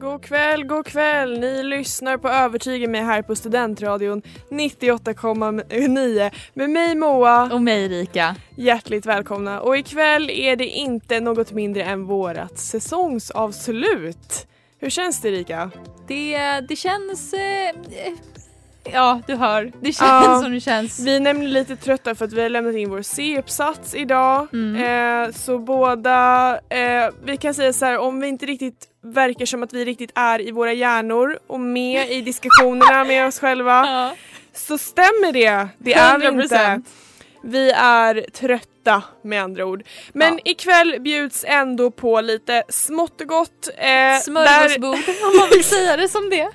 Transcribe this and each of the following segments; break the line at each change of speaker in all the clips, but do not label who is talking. God kväll, god kväll! Ni lyssnar på Övertyga mig här på Studentradion 98,9 med mig Moa.
Och mig Erika.
Hjärtligt välkomna och ikväll är det inte något mindre än vårat säsongsavslut. Hur känns det Erika?
Det, det känns... Eh, eh, ja, du hör. Det känns
Ja.
som det känns.
Vi är nämligen lite trötta för att vi har lämnat in vår C-uppsats idag.
Mm.
Eh, så båda, eh, vi kan säga så här om vi inte riktigt verkar som att vi riktigt är i våra hjärnor och med i diskussionerna med oss själva
Ja.
så stämmer det. Det är vi inte.
100%.
Vi är trötta med andra ord. Men
Ja.
ikväll bjuds ändå på lite smått och gott. Eh, där-
Smörgåsbord, om man vill säga det som det.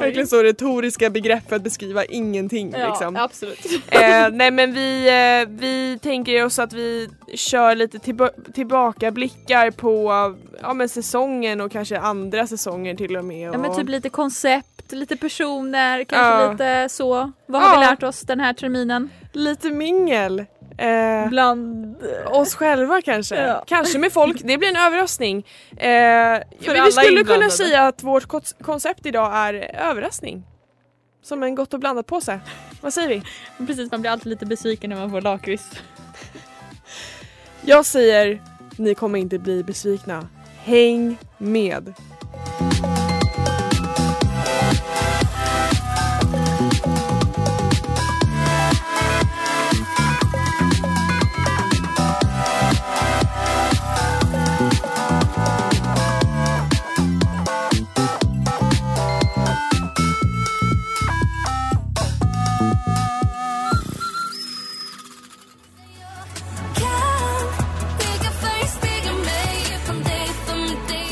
Verkligen så retoriska begrepp för att beskriva ingenting
Ja,
liksom.
absolut.
Eh, nej men vi, eh, vi tänker oss att vi kör lite tillba- tillbakablickar på ja, men säsongen och kanske andra säsonger till och med. Och,
Ja men typ lite koncept, lite personer, kanske
Ja.
lite så. Vad har vi
Ja.
lärt oss den här terminen?
lite mingel. Eh,
Bland...
oss själva kanske.
Ja.
Kanske med folk, det blir en överraskning. Eh, men
alla
vi skulle kunna
inblandade.
säga att vårt kon- koncept idag är överraskning. Som en gott och blandat påse. Vad säger vi?
Precis, man blir alltid lite besviken när man får lakrits.
Jag säger, ni kommer inte bli besvikna. Häng med!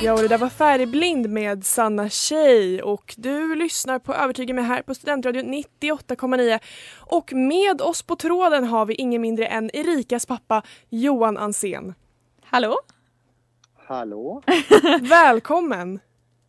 Ja, och det där var Färgblind med Sanna Tjej och du lyssnar på Övertyga mig här på Studentradion 98,9. Och med oss på tråden har vi ingen mindre än Erikas pappa Johan Ansén.
Hallå?
Hallå?
Välkommen!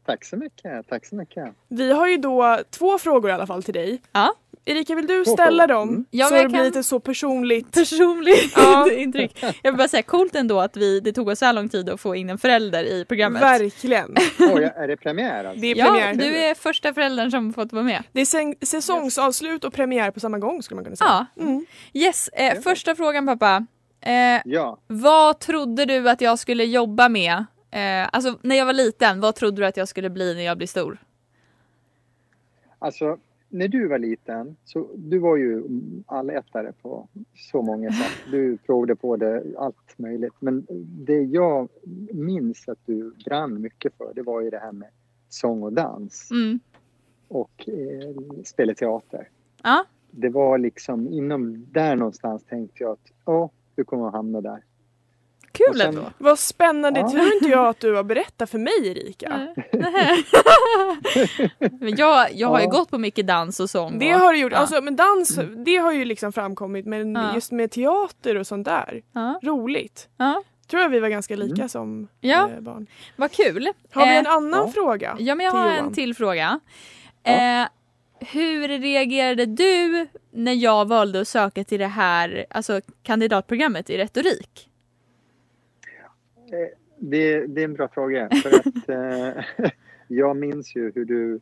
Tack så mycket, tack så mycket.
Vi har ju då två frågor i alla fall till dig.
Ja.
Erika, vill du
Två
ställa
frågor.
dem?
Mm.
Ja,
så
men
det
jag
blir
kan-
lite så personligt.
Personligt
Ja.
intryck. Jag vill bara säga coolt ändå att vi, det tog oss så här lång tid att få in en förälder i programmet.
Verkligen.
Oj, är det premiär alltså?
Det är
Ja,
premiär.
du är första föräldern som fått vara med.
Det är säng- säsongsavslut och premiär på samma gång skulle man kunna säga.
Ja.
Mm.
Yes, eh, första frågan pappa. Eh,
Ja,
vad trodde du att jag skulle jobba med? Eh, alltså när jag var liten, vad trodde du att jag skulle bli när jag blir stor?
alltså när du var liten, så du var ju allätare på så många sätt. Du provade på det, allt möjligt. Men det jag minns att du brann mycket för, det var ju det här med sång och dans
Mm.
och eh, spelteater.
Ja.
Det var liksom inom där någonstans tänkte jag att ja, du kommer att hamna där. Och
Kul
sen-
ändå.
Vad spännande,
Ja.
tror inte jag att du har berättat för mig Erika.
Nej. Men jag, jag har ju
Ja.
gått på mycket dans och sång.
Det
och,
har du gjort.
Ja. Mm.
Alltså, men dans det har ju liksom framkommit men
Ja.
just med teater och sånt där.
Ja.
Roligt.
Ja.
Tror jag vi var ganska lika som
Mm. Ja.
eh, barn.
Vad kul.
Har vi
Eh,
en annan
ja.
fråga?
Ja, men jag
till
har
Johan?
en till fråga. Eh, hur reagerade du när jag valde att söka till det här alltså, kandidatprogrammet i retorik?
Det, det är en bra fråga. För att, eh, jag minns ju hur du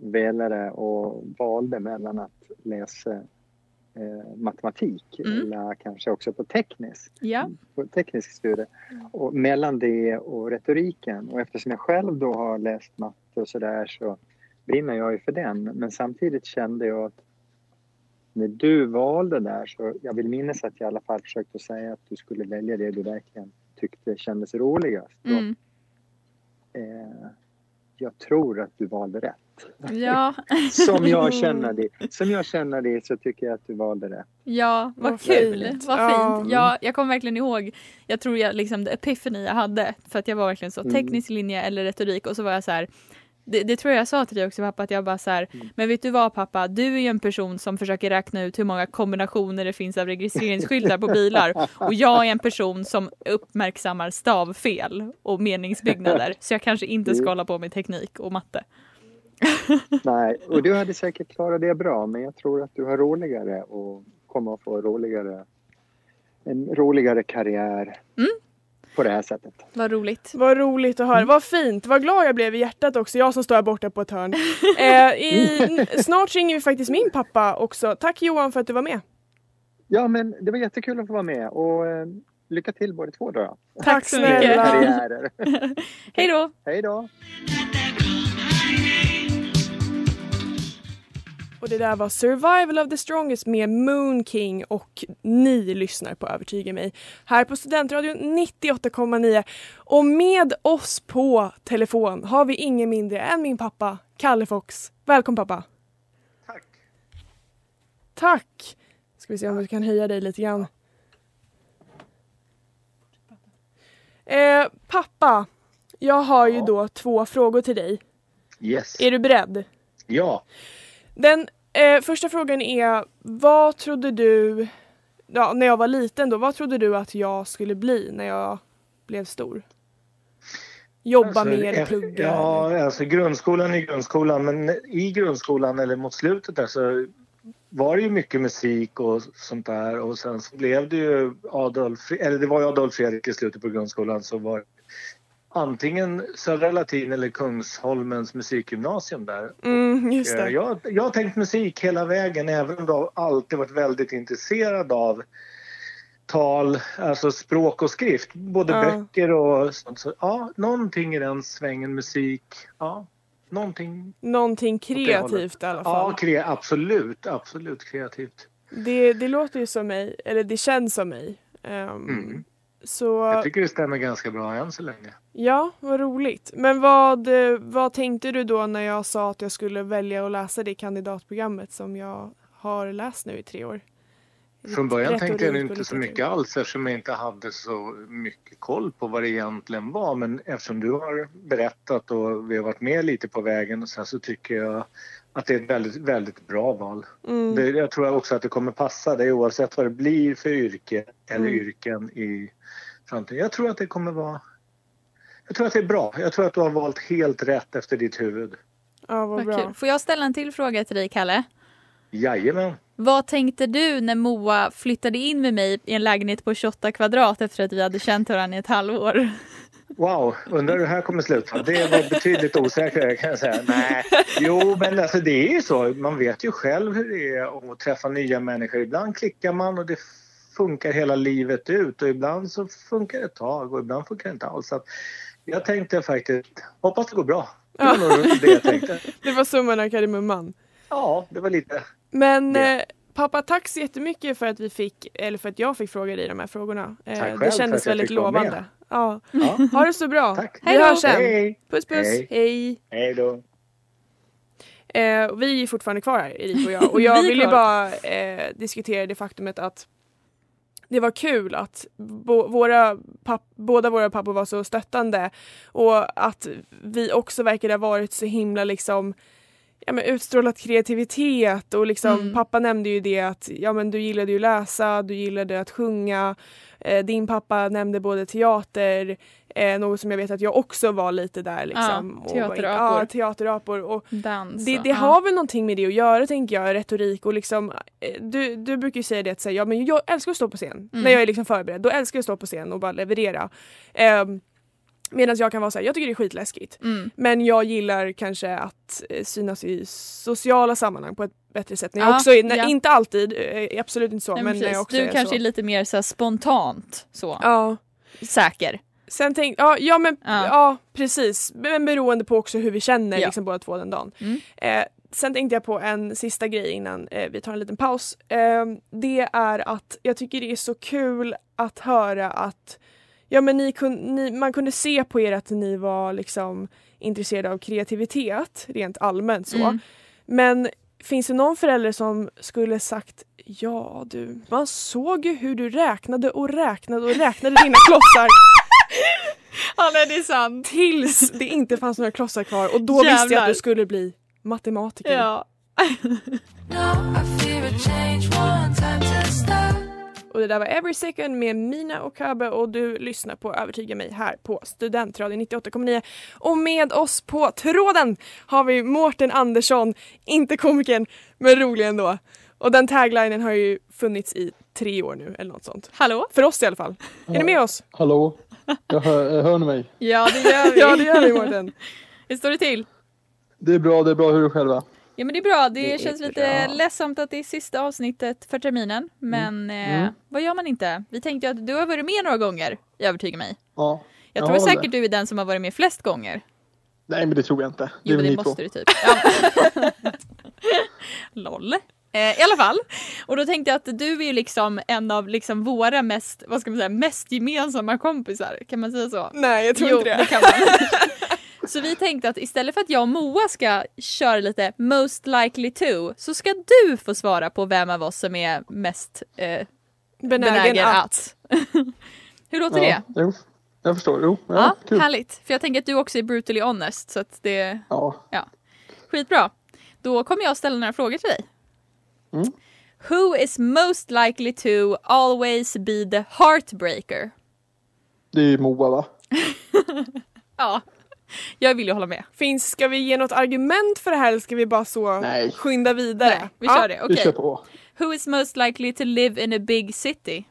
velade och valde mellan att läsa eh, matematik
Mm.
eller kanske också på teknisk,
Ja.
på teknisk studie. Och mellan det och retoriken och eftersom jag själv då har läst matte och sådär så brinner jag ju för den. Men samtidigt kände jag att när du valde där så jag vill minnas att jag i alla fall försökte säga att du skulle välja det du verkligen tyckte kändes roligast. Och,
Mm.
eh, jag tror att du valde rätt.
Ja.
Som jag känner det, som jag känner det så tycker jag att du valde rätt.
Ja, vad,
Vad
kul.
fint.
Vad
Ja.
fint. Ja, jag kommer verkligen ihåg, jag tror jag liksom det epiphany jag hade för att jag var verkligen så
Mm.
teknisk linje eller retorik och så var jag så här det, det tror jag jag sa till dig också pappa att jag bara så här, men vet du vad pappa, du är ju en person som försöker räkna ut hur många kombinationer det finns av registreringsskyltar på bilar och jag är en person som uppmärksammar stavfel och meningsbyggnader så jag kanske inte ska
Mm.
hålla på med teknik och matte.
Nej, och du hade säkert klarat det bra men jag tror att du har roligare och kommer att få roligare, en roligare karriär
Mm.
på det här sättet.
Vad roligt.
Vad roligt att höra.
Mm.
Vad fint. Vad glad jag blev i hjärtat också. Jag som står här borta på ett hörn. Eh, i, snart ringer vi faktiskt min pappa också. Tack Johan för att du var med.
Ja men det var jättekul att få vara med och eh, lycka till båda två då. då.
Tack,
så mycket.
snälla.
Karriärer.
Hej då!
Hej då!
Och det där var Survival of the Strongest med Moon King och ni lyssnar på Övertyga mig här på Studentradion 98,9 och med oss på telefon har vi ingen mindre än min pappa Kalle Fox. Välkommen pappa!
Tack!
Tack! Ska vi se om vi kan höja dig lite grann. Eh, pappa, jag har ju
Ja.
då två frågor till dig.
Yes.
Är du beredd?
Ja.
Den eh, första frågan är, vad trodde du, ja, när jag var liten då, vad trodde du att jag skulle bli när jag blev stor? Jobba mer,
eh,
plugga? eller?
Ja, alltså grundskolan är grundskolan men i grundskolan eller mot slutet där så var det ju mycket musik och sånt där och sen så blev det ju Adolf, eller det var ju Adolf Fredrik i slutet på grundskolan så var antingen Södra Latin eller Kungsholmens musikgymnasium där
Mm, just
Eh,
det.
Jag, jag har tänkt musik hela vägen, även om jag alltid varit väldigt intresserad av tal, alltså språk och skrift, både
Ja.
böcker och sånt. Så, ja, någonting i den svängen, musik, ja, någonting.
Någonting
det hållet.
kreativt i alla fall.
Ja, kre, absolut, absolut kreativt.
Det, det låter ju som mig, eller det känns som mig. Ehm,
Mm.
Så
Jag tycker det stämmer ganska bra än så länge.
ja, vad roligt. Men vad, eh, vad tänkte du då när jag sa att jag skulle välja att läsa det kandidatprogrammet som jag har läst nu i tre år?
Från början
Retorik
tänkte jag
och
inte så
litteratur.
mycket alls eftersom jag inte hade så mycket koll på vad det egentligen var. Men eftersom du har berättat och vi har varit med lite på vägen och sen så tycker jag att det är ett väldigt, väldigt bra val.
Mm.
Det, jag tror också att det kommer passa dig oavsett vad det blir för yrke eller
Mm.
yrken i framtiden. Jag tror att det kommer vara... Jag tror att det är bra. Jag tror att du har valt helt rätt efter ditt huvud.
Ja, vad
Vad
bra.
kul. Får jag ställa en till fråga till dig Kalle?
Jajamän!
Vad tänkte du när Moa flyttade in med mig i en lägenhet på 28 kvadrat efter att vi hade känt varandra i ett halvår?
Wow, undrar hur det här kommer sluta. Det var betydligt osäkrare kan jag säga. Nej. Jo, men alltså det är ju så. Man vet ju själv hur det är att träffa nya människor. Ibland klickar man och det funkar hela livet ut och ibland så funkar det ett tag och ibland funkar det inte alls. Så att jag tänkte faktiskt, hoppas det går bra. Det var nog det jag tänkte.
Det var summan av kardemumman.
Ja, det var lite.
Men
Det.
eh, pappa, tack så jättemycket för att vi fick, eller för att jag fick fråga dig de här frågorna. Eh,
Tack själv
det
för att
kändes
jag
väldigt
fick vara
lovande.
med.
Ja.
Ja.
Ha det så bra.
Tack.
Vi
Hej då.
hörs sen.
Hej!
Puss puss.
Hej.
Hej.
Hej då!
Eh, och vi är fortfarande kvar här, Erik och jag. Och jag
Vi är
vill ju
kvar.
bara eh, diskutera det faktumet att det var kul att bo- våra papp- båda våra pappor var så stöttande och att vi också verkade ha varit så himla liksom ja, men utstrålat kreativitet och liksom
Mm.
pappa nämnde ju det att ja, men du gillade ju läsa, du gillade att sjunga. Eh, din pappa nämnde både teater, eh, något som jag vet att jag också var lite där liksom. och var in-
teaterapor.
Ja, teaterapor. Och
Dans.
det,
och-
det
Alltså, ja.
har väl någonting med det att göra tänker jag, retorik och liksom eh, du, du brukar ju säga det att säga, ja, men
Mm.
jag älskar att stå på scen när jag är liksom förberedd, då älskar jag att stå på scen och bara leverera. Ehm, Medan jag kan vara så här, jag tycker det är skitläskigt.
Mm.
Men jag gillar kanske att eh, synas i sociala sammanhang på ett bättre sätt. När jag
Ja,
också är, när,
ja.
Inte alltid, eh, absolut inte så.
Nej,
men
men
när jag
precis.
också
Du
är
kanske
så.
är lite mer så här, spontant så.
Ja.
Säker.
Sen tänk, ja, ja men ja.
Ja.
precis. Men beroende på också hur vi känner
Ja.
liksom båda två den dagen.
Mm.
Eh, sen tänkte jag på en sista grej innan eh, vi tar en liten paus. Eh, det är att jag tycker det är så kul att höra att ja, men ni kun, ni, man kunde se på er att ni var liksom intresserade av kreativitet rent allmänt så.
Mm.
Men finns det någon förälder som skulle sagt ja du, man såg ju hur du räknade och räknade och räknade dina klossar
Ja, nej, det är sant.
tills det inte fanns några klossar kvar och då visste jag att
Jävlar.
du skulle bli matematiker.
Ja.
Och det där var Every Second med Mina och Kabe och du lyssnar på Övertyga mig här på Studentradion 98,9. Och med oss på tråden har vi Mårten Andersson, inte komikern men rolig ändå. Och den taglinen har ju funnits i tre år nu eller något sånt.
Hallå?
För oss i alla fall. Är ni med oss?
Hallå? Jag hör, hör ni mig?
Ja, det gör vi.
Ja det gör vi Mårten.
Hur står det till?
Det är bra, det är bra. Hur är det själva?
Ja men det är bra, det,
är
känns lite
bra.
ledsamt att det är sista avsnittet för
Mm.
terminen. Men eh, vad gör man inte? Vi tänkte ju att du har varit med några gånger, jag övertygar mig.
Ja.
Jag
Ja,
tror
det.
säkert du är den som har varit med flest gånger.
Nej, men det tror jag inte. Det
Jo
är
men
väl ni
det
två.
måste du typ. Ja. Loll. Eh, I alla fall. Och då tänkte jag att du är ju liksom en av liksom våra mest, vad ska man säga, mest gemensamma kompisar. Kan man säga så?
Nej jag tror
jo,
inte det.
kan man. Så vi tänkte att istället för att jag och Moa ska köra lite most likely to så ska du få svara på vem av oss som är mest eh,
Benägen,
benägen
att.
att. Hur låter
Ja,
det?
jo, jag förstår. Jo, ja,
Ja,
kul.
härligt. För jag tänker att du också är brutally honest så att det
Ja.
Skitbra. Då kommer jag ställa några frågor till dig.
Mm.
Who is most likely to always be the heartbreaker?
Det är Moa, va?
Ja, jag vill ju hålla med.
Finns, ska vi ge något argument för det här eller ska vi bara så
Nej.
skynda vidare?
Nej, vi
Ja.
kör det.
Vi
Okej.
kör på.
Who is most likely to live in a big city?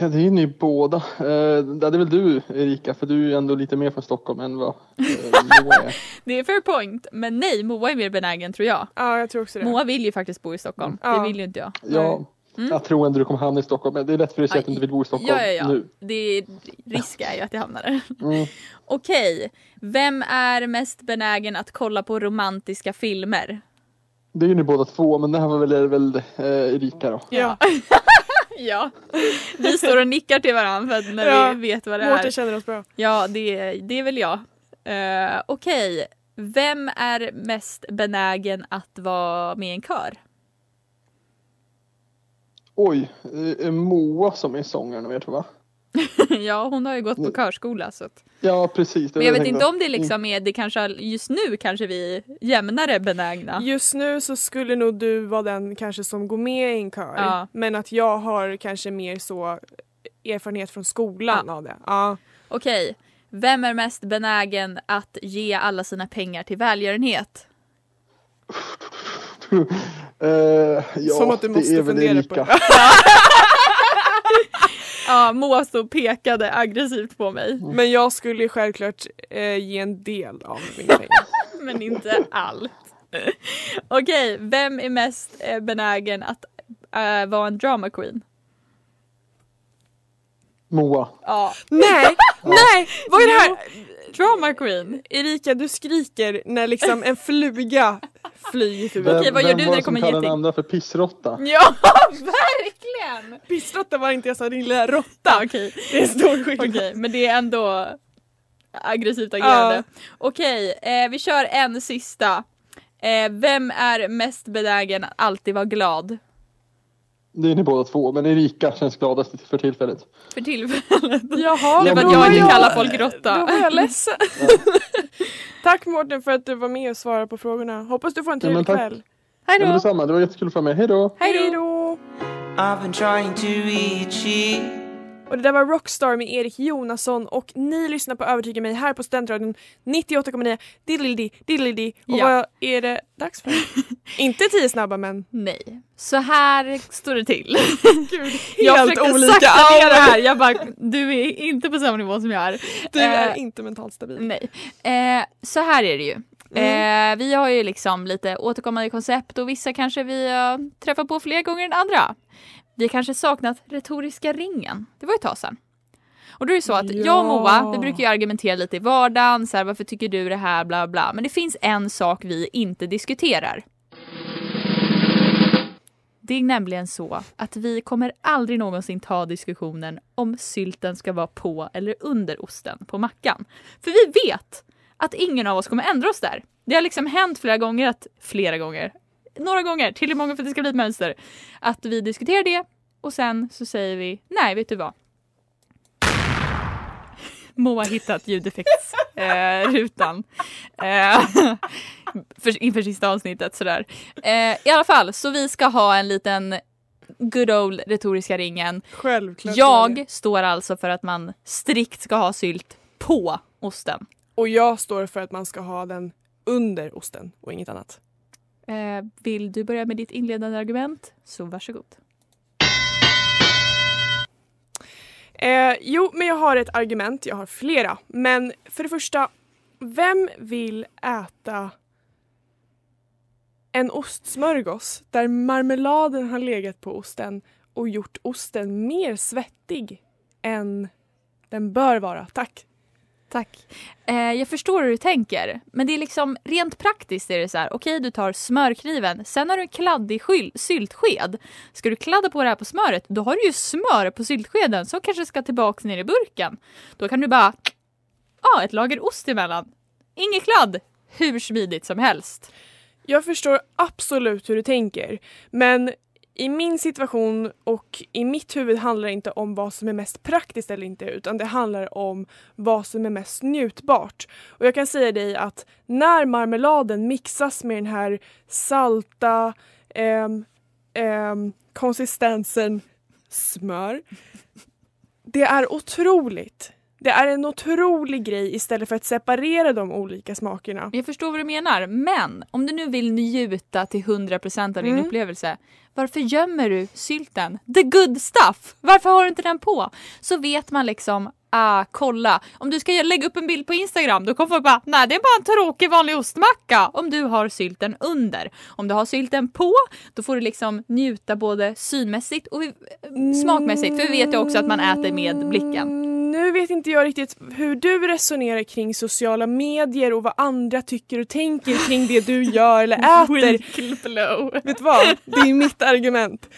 Ja, det är ni båda. Eh, det är väl du, Erika, för du är ändå lite mer från Stockholm än vad eh, Moa är.
Det är fair point, men nej, Moa är mer benägen tror jag.
Ja jag tror också det.
Moa vill ju faktiskt bo i Stockholm.
Ja.
Det vill ju inte jag.
Ja, Jag tror ändå du kommer hamna i Stockholm, men det är lätt för dig att säga att du inte vill bo i Stockholm
Mm. Ja, ja, ja.
nu.
Det är, risk är ju att jag hamnar där.
Mm.
Okej, vem är mest benägen att kolla på romantiska filmer?
Det är ju ni båda två, men det här var väl, är väl eh, Erika då.
Ja.
Ja, vi står och nickar till varandra för att när
Ja,
vi vet vad det
Mårten
är.
känner oss bra.
Ja, det, är- det är väl jag. Uh, Okej, vem är mest benägen att vara med i en kör?
Oj, det är Moa som är sångaren av er, tror jag.
ja, hon har ju gått på körskola. Så att.
Ja, precis. Mm. det var
Men jag
det
vet inte
tänkte.
om det liksom är, det kanske, har- just nu kanske vi är jämnare benägna.
Just nu så skulle nog du vara den kanske som går med i en kör.
Ja.
Men att jag har kanske mer så erfarenhet från skolan av det. Ja.
Okej, vem är mest benägen att ge alla sina pengar till välgörenhet?
Eh, ja,
Som att du måste
det är väl
fundera
Erika.
på det.
Ja, Moa stod och pekade aggressivt på mig,
Men jag skulle ju självklart eh, ge en del av mina pengar.
men inte allt. Okej, vem är mest eh, benägen att eh, vara en drama queen?
Moa.
Ja,
nej, nej! Vad är det här?
drama queen.
Erika du skriker när liksom en fluga flyger förbi.
Okej, vad gör
vem
du
var
när
som
det kommer en
kallade
geting?
den andra för pissrotta?
Ja, verkligen!
Pissrotta var inte jag sa, din lilla råtta.
Ja, Okej,
Det är stor skillnad.
Okej, men det är ändå aggressivt agerande. Okej, eh, vi kör en sista. Eh, vem är mest benägen att alltid vara glad?
Det är ni båda två, men Erika känns gladast för tillfället.
För
Jaha,
tillfället. Det
Ja,
är för
men
att
då
jag
var
inte
jag-
kallar folk
Då
råtta.
var jag ledsen. Tack Mårten för att du var med och svarade på frågorna. Hoppas du får en
Ja, men
trevlig
tack.
kväll.
Hej
Ja, men
då!
detsamma, det var jättekul att få vara med. Hej då!
Hej då!
då!
I've been trying to reach you,
Och det där var Rockstar med Erik Jonasson och ni lyssnar på Övertyga mig här på Studentradion 98,9 diddly diddly Och
Ja.
vad är det dags för? Inte tio snabba men
Nej. Så här står det till.
helt
jag försökte
olika
sakta ner
aura.
det här. Jag bara, du är inte på samma nivå som jag är.
du
Eh,
är inte Mm. mentalt stabil.
Nej. Eh, så här är det ju. Eh, vi har ju liksom lite återkommande koncept och vissa kanske vi eh, träffar på fler gånger än andra. Vi kanske saknat retoriska ringen. Det var ju ett tag sedan. Och då är det så att jag och Moa, vi brukar ju argumentera lite i vardagen, så här, varför tycker du det här, bla bla. Men det finns en sak vi inte diskuterar. Det är nämligen så att vi kommer aldrig någonsin ta diskussionen om sylten ska vara på eller under osten på mackan. För vi vet att ingen av oss kommer ändra oss där. Det har liksom hänt flera gånger, att, flera gånger, några gånger, tillräckligt många för att det ska bli ett mönster, att vi diskuterar det och sen så säger vi nej, vet du vad? Moa har hittat ljudeffektsrutan eh, rutan. eh, för, inför sista avsnittet sådär. Eh, I alla fall, så vi ska ha en liten good old retoriska ringen
Självklart.
jag står alltså för att man strikt ska ha sylt på osten.
Och jag står för att man ska ha den under osten och inget annat.
Eh, vill du börja med ditt inledande argument? Så varsågod.
Eh, jo, men jag har ett argument. Jag har flera. Men för det första, vem vill äta en ostsmörgås där marmeladen har legat på osten och gjort osten mer svettig än den bör vara? Tack.
Tack. Eh, jag förstår hur du tänker, men det är liksom rent praktiskt är det så här. Okej, du tar smörkniven, sen har du en kladdig skyl- syltsked. Ska du kladda på det här på smöret, då har du ju smör på syltskeden som kanske ska tillbaks ner i burken. Då kan du bara, ah, ett lager ost emellan. Inget kladd, hur smidigt som helst.
Jag förstår absolut hur du tänker, men i min situation och i mitt huvud handlar det inte om vad som är mest praktiskt eller inte utan det handlar om vad som är mest njutbart. Och jag kan säga dig att när marmeladen mixas med den här salta ehm, ehm, konsistensen smör, det är otroligt. Det är en otrolig grej istället för att separera de olika smakerna.
Jag förstår vad du menar, men om du nu vill njuta till 100% av din
Mm.
upplevelse, varför gömmer du sylten? The good stuff! Varför har du inte den på? Så vet man liksom, ah, kolla. Om du ska lägga upp en bild på Instagram, då kommer folk bara, nej det är bara en tråkig vanlig ostmacka om du har sylten under. Om du har sylten på, då får du liksom njuta både synmässigt och eh, smakmässigt, för vi vet ju också att man äter med blicken.
Mm, Nu vet inte jag riktigt hur du resonerar kring sociala medier och vad andra tycker och tänker kring det du gör eller äter. vet du vad? Det är mitt argument.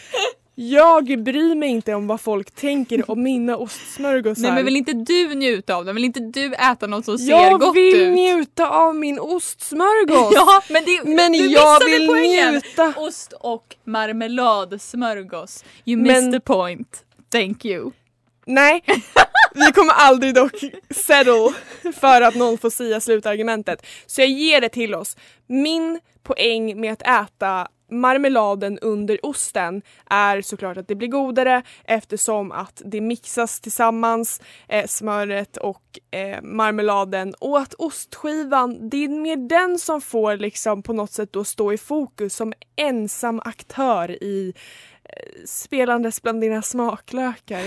Jag bryr mig inte om vad folk tänker om mina ostsmörgåsar.
Nej men vill inte du njuta av den? Vill inte du äta något som ser
jag
gott
vill
ut?
njuta av min ostsmörgås.
Ja, men, det,
Men
du
jag
missade
vill
poängen.
njuta.
Ost och marmeladsmörgås. You
Men-
missed the point. Thank you.
Nej, vi kommer aldrig dock settle för att någon får säga slutargumentet. Så jag ger det till oss. Min poäng med att äta marmeladen under osten är såklart att det blir godare eftersom att det mixas tillsammans, eh, smöret och eh, marmeladen och att ostskivan, det är mer den som får liksom på något sätt då stå i fokus som ensam aktör i eh, spelandes bland dina smaklökar.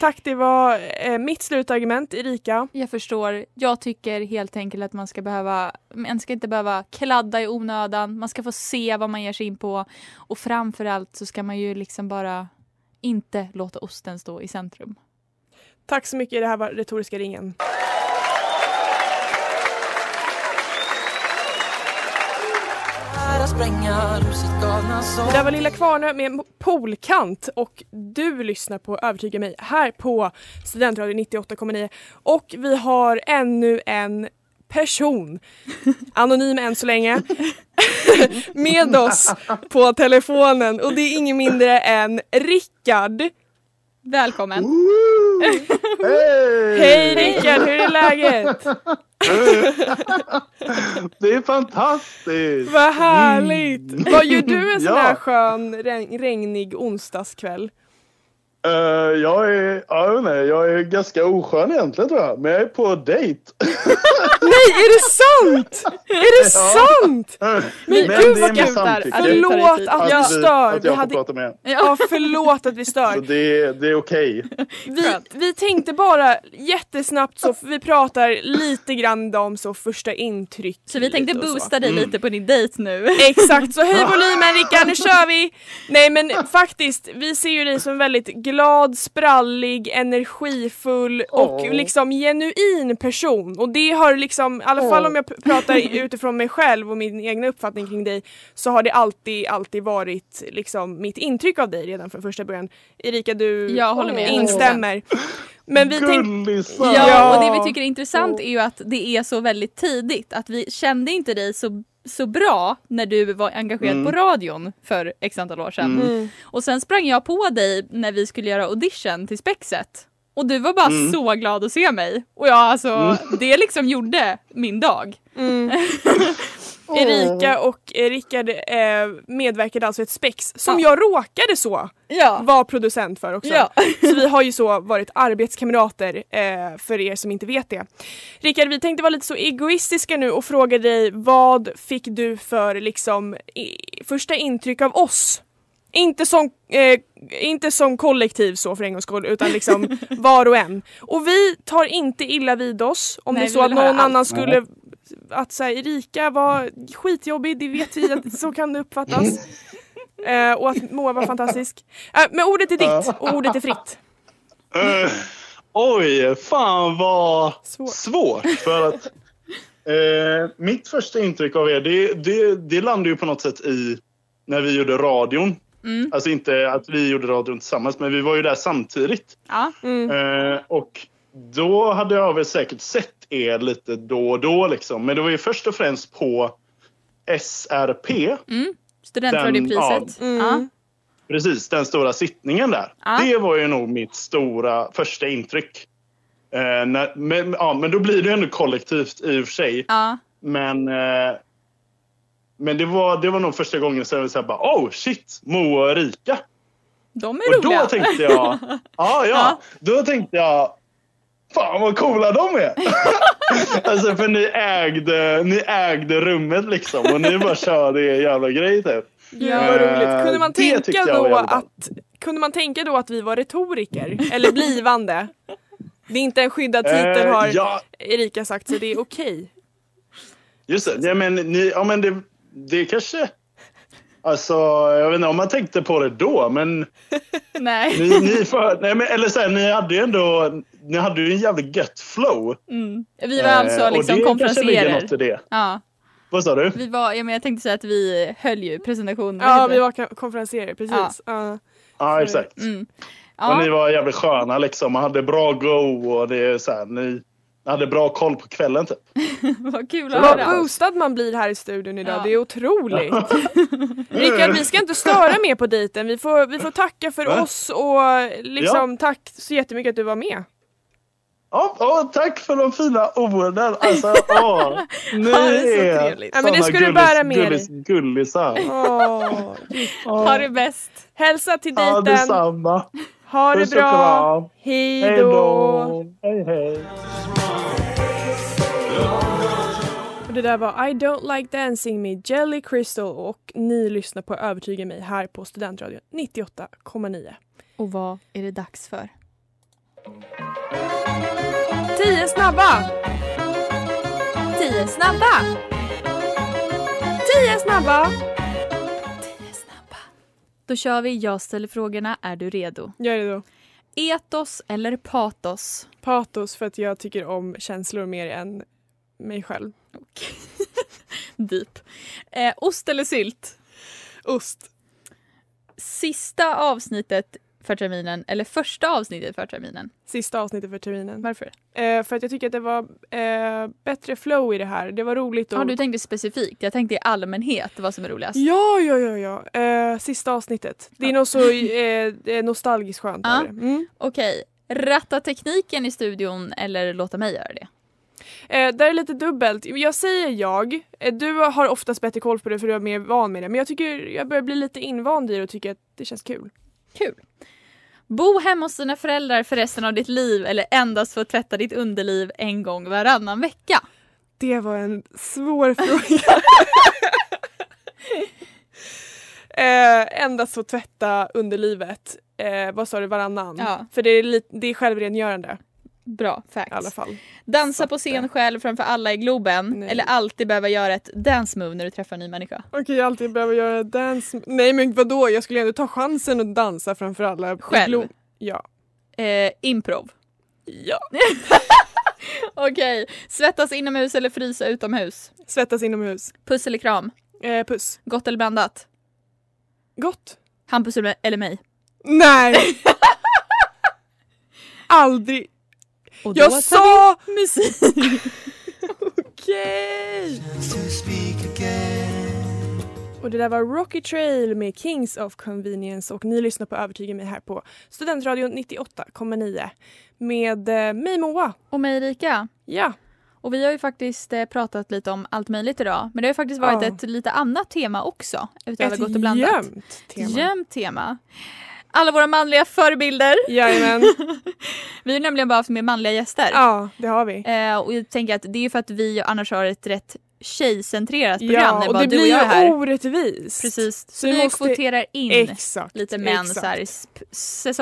Tack, det var eh, mitt slutargument, Erika.
Jag förstår. Jag tycker helt enkelt att man ska behöva, man ska inte behöva kladda i onödan. Man ska få se vad man ger sig in på. Och framförallt så ska man ju liksom bara inte låta osten stå i centrum.
Tack så mycket, det här var Retoriska ringen. Det där var Lilla Kvarnö med Polkant och du lyssnar på Övertyga mig här på Studentradion 98,9 och vi har ännu en person, anonym än så länge, med oss på telefonen och det är ingen mindre än Rickard.
Välkommen!
Hej Rickard, hur är läget?
Det är fantastiskt!
Vad härligt! Vad gör du en sån
Mm. Ja.
här skön reg- regnig onsdagskväll?
Eh, jag är, jag vet inte, jag är ganska oskön egentligen tror jag. Men jag är på dejt.
Nej, är det sant? Är det sant? Men
Men
gud
det
vad
är med
kul!
samtycke.
Alltså, det tar
Förlåt
tid.
att vi
Att vi-
stör.
Att
Vi
jag får
hade...
prata med.
Ja, förlåt att vi
Så
stör.
det, det är okej.
Vi, vi tänkte bara jättesnabbt så, för vi pratar lite grann om så första intryck.
Så Alltså, vi tänkte
och så.
boosta dig lite på din dejt nu.
Exakt, så höj volymen Rickard, nu kör vi! Nej men faktiskt, vi ser ju dig som väldigt glad, sprallig, energifull och liksom genuin person. Och det har liksom, i alla fall om jag p- pratar utifrån mig själv och min egna uppfattning kring dig, så har det alltid, alltid varit liksom mitt intryck av dig redan från första början. Erika, du
Jag håller med.
instämmer. Men vi tänkte...
Gullisar!
Ja,
Ja.
och det vi tycker är intressant är ju att det är så väldigt tidigt. Att vi kände inte dig så, så bra när du var engagerad
Mm.
på radion för x antal år sedan.
Mm.
Och sen sprang jag på dig när vi skulle göra audition till Spexet. Och du var bara
Mm.
så glad att se mig. Och jag alltså, det liksom gjorde min dag.
Erika och eh, Rickard eh, medverkade alltså i ett spex som jag råkade så
Ja.
var producent för också.
Ja.
så vi har ju så varit arbetskamrater eh, för er som inte vet det. Rickard, vi tänkte vara lite så egoistiska nu och fråga dig vad fick du för liksom i, första intryck av oss? Inte som, eh, inte som kollektiv så för en gångs skull utan liksom var och en. Och vi tar inte illa vid oss om
Nej,
det är
vi
så att
vill höra
någon
allt.
annan skulle att så här, Erika var skitjobbig, det vet vi att så kan det uppfattas.
Mm.
Eh, och att Moa var fantastisk. Eh, men ordet är ditt och ordet är fritt.
Eh, oj, fan vad
Svår.
svårt. För att eh, mitt första intryck av er, det, det, det landade ju på något sätt i när vi gjorde radion. Alltså inte att vi gjorde radion tillsammans, men vi var ju där samtidigt.
Ja.
Eh, och då hade jag väl säkert sett er lite då och då liksom. Men det var ju först och främst på SRP.
Studentradiopriset.
Den-
Ja.
Mm.
Precis, den stora sittningen där.
Ja.
Det var ju nog mitt stora första intryck. Eh, när, men, ja, men då blir det ju ändå kollektivt i och för sig.
Ja.
Men, eh, men det, var, det var nog första gången som jag så här bara oh shit, Moa och Erika.
De
Och
är roliga.
då tänkte jag, ah, ja, ja,
Ja.
då tänkte jag, fan vad coola de är. alltså för ni ägde, ni ägde rummet liksom och ni bara körde er jävla grej typ.
Gud vad roligt. Kunde man
det tyckte
tänka
jag var
då
jävligt bra.
att kunde man tänka då att vi var retoriker? Eller blivande? Det är inte en skyddad titel
Eh,
har
ja.
Erika sagt så det är okej.
Just det. Ja, men, ni, ja, men det, det kanske... Alltså, jag vet inte om man tänkte på det då, men
Nej.
ni, ni, för, nej, men, eller så här, ni hade ju ändå ni hade ju en jävligt gött flow.
Vi var alltså
Eh,
liksom
och det kanske ligger
konferenserer.
något i det.
Ja.
Vad sa du?
Vi var, ja, men jag tänkte säga att vi höll ju presentationen.
Ja, vi var ka- konferenserer, precis. Ja.
Ja, exakt.
Ja.
Och ni var jävligt sköna liksom och hade bra go och det är så här, ni, ni hade bra koll på kvällen typ.
Vad kul att
Vad
höra.
boostad man blir här i studion idag,
Ja.
det är otroligt. Rickard, vi ska inte störa mer på dejten. Vi får, vi får tacka för
Va?
oss och liksom tack så jättemycket att du var med.
Ja, ja, tack för de fina orden. Alltså, åh, ni
Ja, det är så
är
trevligt.
Ja, men det
såna
ska du bära med dig.
gullis, gullisar.
Åh.
Ha det bäst.
Hälsa till
Ja,
dejten,
detsamma.
ha det
Puss och kram.
bra, hej
Hej
då!
då! Hej, hej.
Och det där var I don't like dancing med Jelly Crystal och ni lyssnar på Övertyga mig här på Studentradion 98,9.
Och vad är det dags för?
10 snabba!
Tio snabba!
10 snabba!
Tio snabba. Då kör vi Jag ställer frågorna. Är du redo?
Gör det då.
Etos eller patos?
Patos för att jag tycker om känslor mer än mig själv.
Deep. Eh, ost eller sylt?
Ost.
Sista avsnittet för terminen eller första avsnittet för terminen?
Sista avsnittet för terminen.
Varför?
Eh, för att jag tycker att det var eh, bättre flow i det här. Det var roligt. Och...
Ja, du tänkte specifikt. Jag tänkte i allmänhet vad som är roligast.
Ja, ja, ja. ja. Eh, sista avsnittet. Det är nog så eh, det är nostalgiskt skönt.
Ja.
över det. Mm.
Okej. Ratta tekniken i studion eller låta mig göra det?
Eh, där är lite dubbelt. Jag säger jag. Eh, du har oftast bättre koll på det för du är mer van med det. Men jag tycker jag börjar bli lite invand i det och tycker att det känns kul.
Kul. Bo hemma hos dina föräldrar för resten av ditt liv eller endast få tvätta ditt underliv en gång varannan vecka?
Det var en svår fråga. eh, endast få tvätta underlivet. Eh, vad sa du, varannan?
Ja.
För det är, li- det är självrengörande
Bra,
i alla
facts.
fall.
Dansa på scen själv framför alla i Globen
Nej.
eller alltid behöva göra ett dance move när du träffar en ny människa.
Okej, jag alltid behöver göra dans. Nej men vadå, jag skulle ändå ta chansen att dansa framför alla.
Själv?
Glo- Ja.
Eh, improv.
ja.
Okej, svettas inomhus eller frysa utomhus?
Svettas inomhus.
Puss eller kram?
Eh, puss.
Gott eller blandat?
Gott.
Hampus eller eller mig?
Nej! Aldrig.
Och då tar
Jag sa
vi musik!
okej! Och det där var Rocky Trail med Kings of Convenience och ni lyssnar på Övertyga mig här på Studentradion 98,9 med eh, mig Moa.
Och mig Erika.
Ja,
Och vi har ju faktiskt eh, pratat lite om allt möjligt idag. Men det har ju faktiskt varit
Ja.
ett lite annat tema också. Utöver
ett
gott och blandat.
gömt tema.
Gömt tema. Alla våra manliga förebilder.
Jajamän.
Vi har ju nämligen bara haft med manliga gäster.
Ja, det har vi.
Eh, och jag tänker att det är ju för att vi och annars har ett rätt tjejcentrerat program.
Ja,
när
och
bara
det
du och jag är
blir
här.
ju orättvist.
Precis. Så,
Så vi
vi
måste-
kvoterar in
Exakt.
lite män
exakt.
så här, i sp-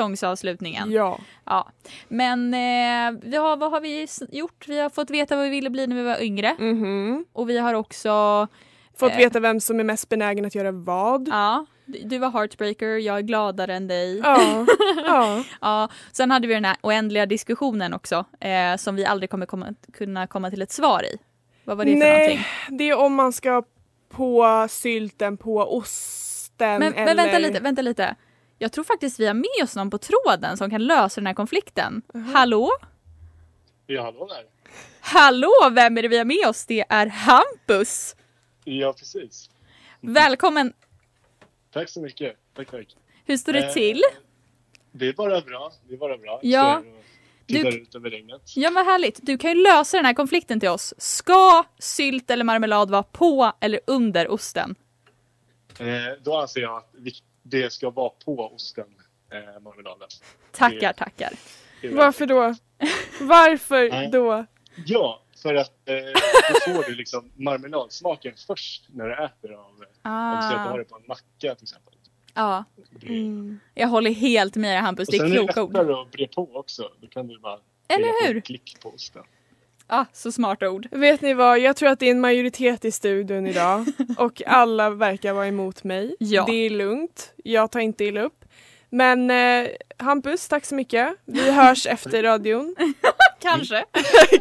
säsongsavslutningen.
Ja.
Ja. Men eh, vi har, vad har vi s- gjort? Vi har fått veta vad vi ville bli när vi var yngre.
Mhm.
Och vi har också
Fått
Eh.
veta vem som är mest benägen att göra vad.
Ja, du du var heartbreaker, jag är gladare än dig. Ja.
Ja. ja.
sen hade vi den här oändliga diskussionen också eh, som vi aldrig kommer komma, kunna komma till ett svar i. Vad var det för någonting?
Nej, det är om man ska på sylten på osten
Men,
eller...
men vänta lite, vänta lite. Jag tror faktiskt vi har med oss någon på tråden som kan lösa den här konflikten. Hallå?
Ja, hallå där.
Hallå, vem är det vi har med oss? Det är Hampus!
Ja, precis.
Välkommen!
Tack så mycket. Tack, tack.
Hur står det
Eh,
till?
Det är bara bra. Det är bara bra.
Ja.
Jag står här och
Du-
Tittar ut över regnet.
Ja men härligt, du kan ju lösa den här konflikten till oss. Ska sylt eller marmelad vara på eller under osten?
Eh, då anser jag att vi, det ska vara på osten, eh, marmeladen.
Tackar,
Det-
tackar.
Det är
Varför då? Varför
Nej.
då?
Ja, för att eh, då får du liksom marmeladsmaken först när du äter av
Ah.
Om du säger att du har det på en macka till exempel.
Ja,
Det-
Mm. jag håller helt med dig Hampus,
Och
det
sen
är
är det
kloka ord.
lättare att bre på också. Då kan du bara
Eller
lägga på
hur?
ett klick på osten.
Ja, så smarta ord.
Vet ni vad, jag tror att det är en majoritet i studion idag och alla verkar vara emot mig.
Ja.
Det är lugnt, jag tar inte illa upp. Men eh, Hampus, tack så mycket. Vi hörs efter radion.
Kanske.
Mm.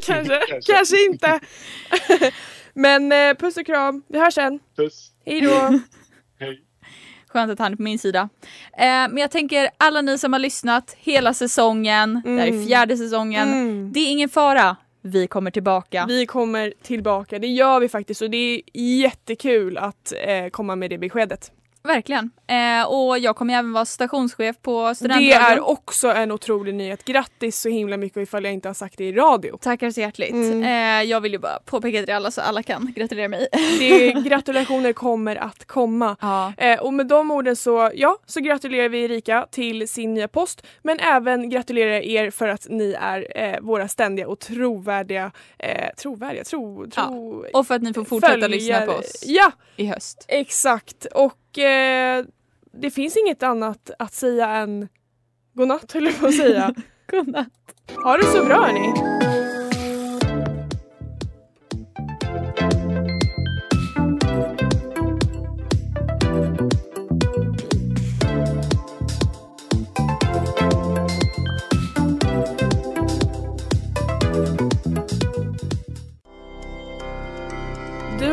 Kanske, kanske inte. Men eh, puss och kram, vi hörs sen.
Puss!
Hej då.
Hej!
Skönt att han är på min sida. Eh, men jag tänker alla ni som har lyssnat hela säsongen, det här är fjärde säsongen.
Mm.
Det är ingen fara, vi kommer tillbaka.
Vi kommer tillbaka, det gör vi faktiskt och det är jättekul att eh, komma med det beskedet.
Verkligen. Eh, och jag kommer även vara stationschef på
Det
studentradion.
är också en otrolig nyhet. Grattis så himla mycket ifall jag inte har sagt det i radio.
Tackar så hjärtligt. Eh, jag vill ju bara påpeka det till alla så alla kan gratulera mig.
Det, gratulationer kommer att komma.
Ja.
Eh, och med de orden så, ja, så gratulerar vi Erika till sin nya post men även gratulerar er för att ni är eh, våra ständiga och trovärdiga, eh, trovärdiga, tro, tro,
Och för att ni får fortsätta lyssna på
följare.
oss
Ja,
i höst.
exakt. Och eh, det finns inget annat att säga än godnatt höll jag på att säga.
Godnatt.
ha det så bra hörni! Du